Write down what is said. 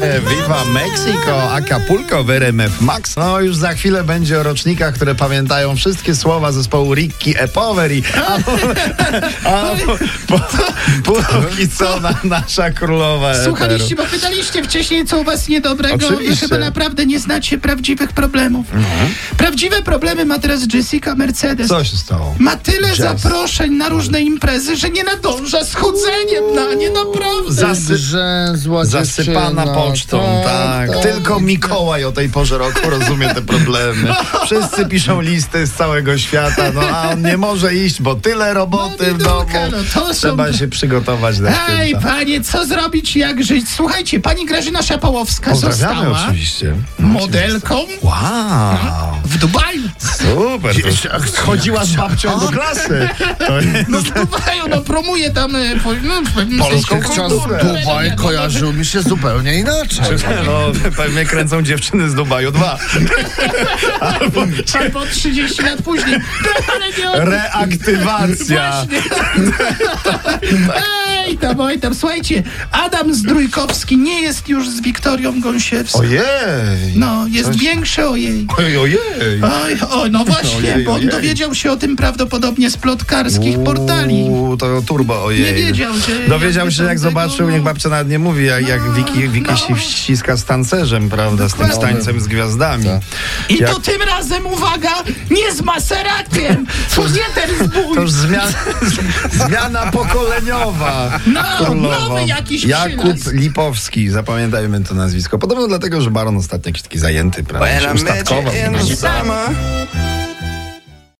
E, Viva Mexico, Acapulco w RMF Max. No już za chwilę będzie o rocznikach, które pamiętają wszystkie słowa zespołu Ricky Epoveri. A, po- a po- po- póki co na, nasza królowa eteru. Słuchaliście, bo pytaliście wcześniej, co u was niedobrego. Wy Oczywiście. No. chyba naprawdę nie znacie prawdziwych problemów. Prawdziwe problemy ma teraz Jessica Mercedes. Co się stało? Ma tyle Jazz. zaproszeń na różne imprezy, że nie nadąża z chudzeniem na nie, naprawdę. Zasy- Że zła zasypana dziewczyna. pocztą, tak. Tylko Mikołaj o tej porze roku rozumie te problemy. Wszyscy piszą listy z całego świata, no a on nie może iść, bo tyle roboty No, w domu. Lidulka, no to są- Trzeba się przygotować na Ej, święta. panie, co zrobić, jak żyć? Słuchajcie, pani Grażyna Szapałowska Pozdrawiamy została oczywiście. modelką Wow, w Dubaju. super. To... Chodziła z babcią Do klasy. To jest... No w Dubaju, no promuje tam e, po- no, w pewnym Polską sensie Czas kulturę. Dubaj kojarzył mi się zupełnie inaczej. tak. No, pewnie kręcą dziewczyny z Dubaju 2. Albo 30 lat później. Ale nie o tym. Reaktywacja. Ej, tam, oj, tam, słuchajcie, Adam Zdrójkowski nie jest już z Wiktorią Gąsiewską. Ojej. No, jest Coś- większy o jej. Ojej, ojej. Oj, o, no właśnie, Ojej, bo on ojej. dowiedział się o tym prawdopodobnie z plotkarskich portali. Uuu, to turbo, ojej. Nie wiedział, że Dowiedział jakby się, tam jak tego, zobaczył, no. niech babcia nawet nie mówi, jak, jak Wiki, Wiki no. się ściska z tancerzem, prawda, z tym z Dokładnie. Tak. tańcem z gwiazdami. I Jak- to tym razem, uwaga, nie z maseratiem! To nie ten zbój! To już zmiana, zmiana pokoleniowa. No, królowo. nowy jakiś Jakub przylask. Lipowski, zapamiętajmy to nazwisko. Podobno dlatego, że baron ostatnio jakiś taki zajęty, prawda, When się I met you ustatkował. in the summer,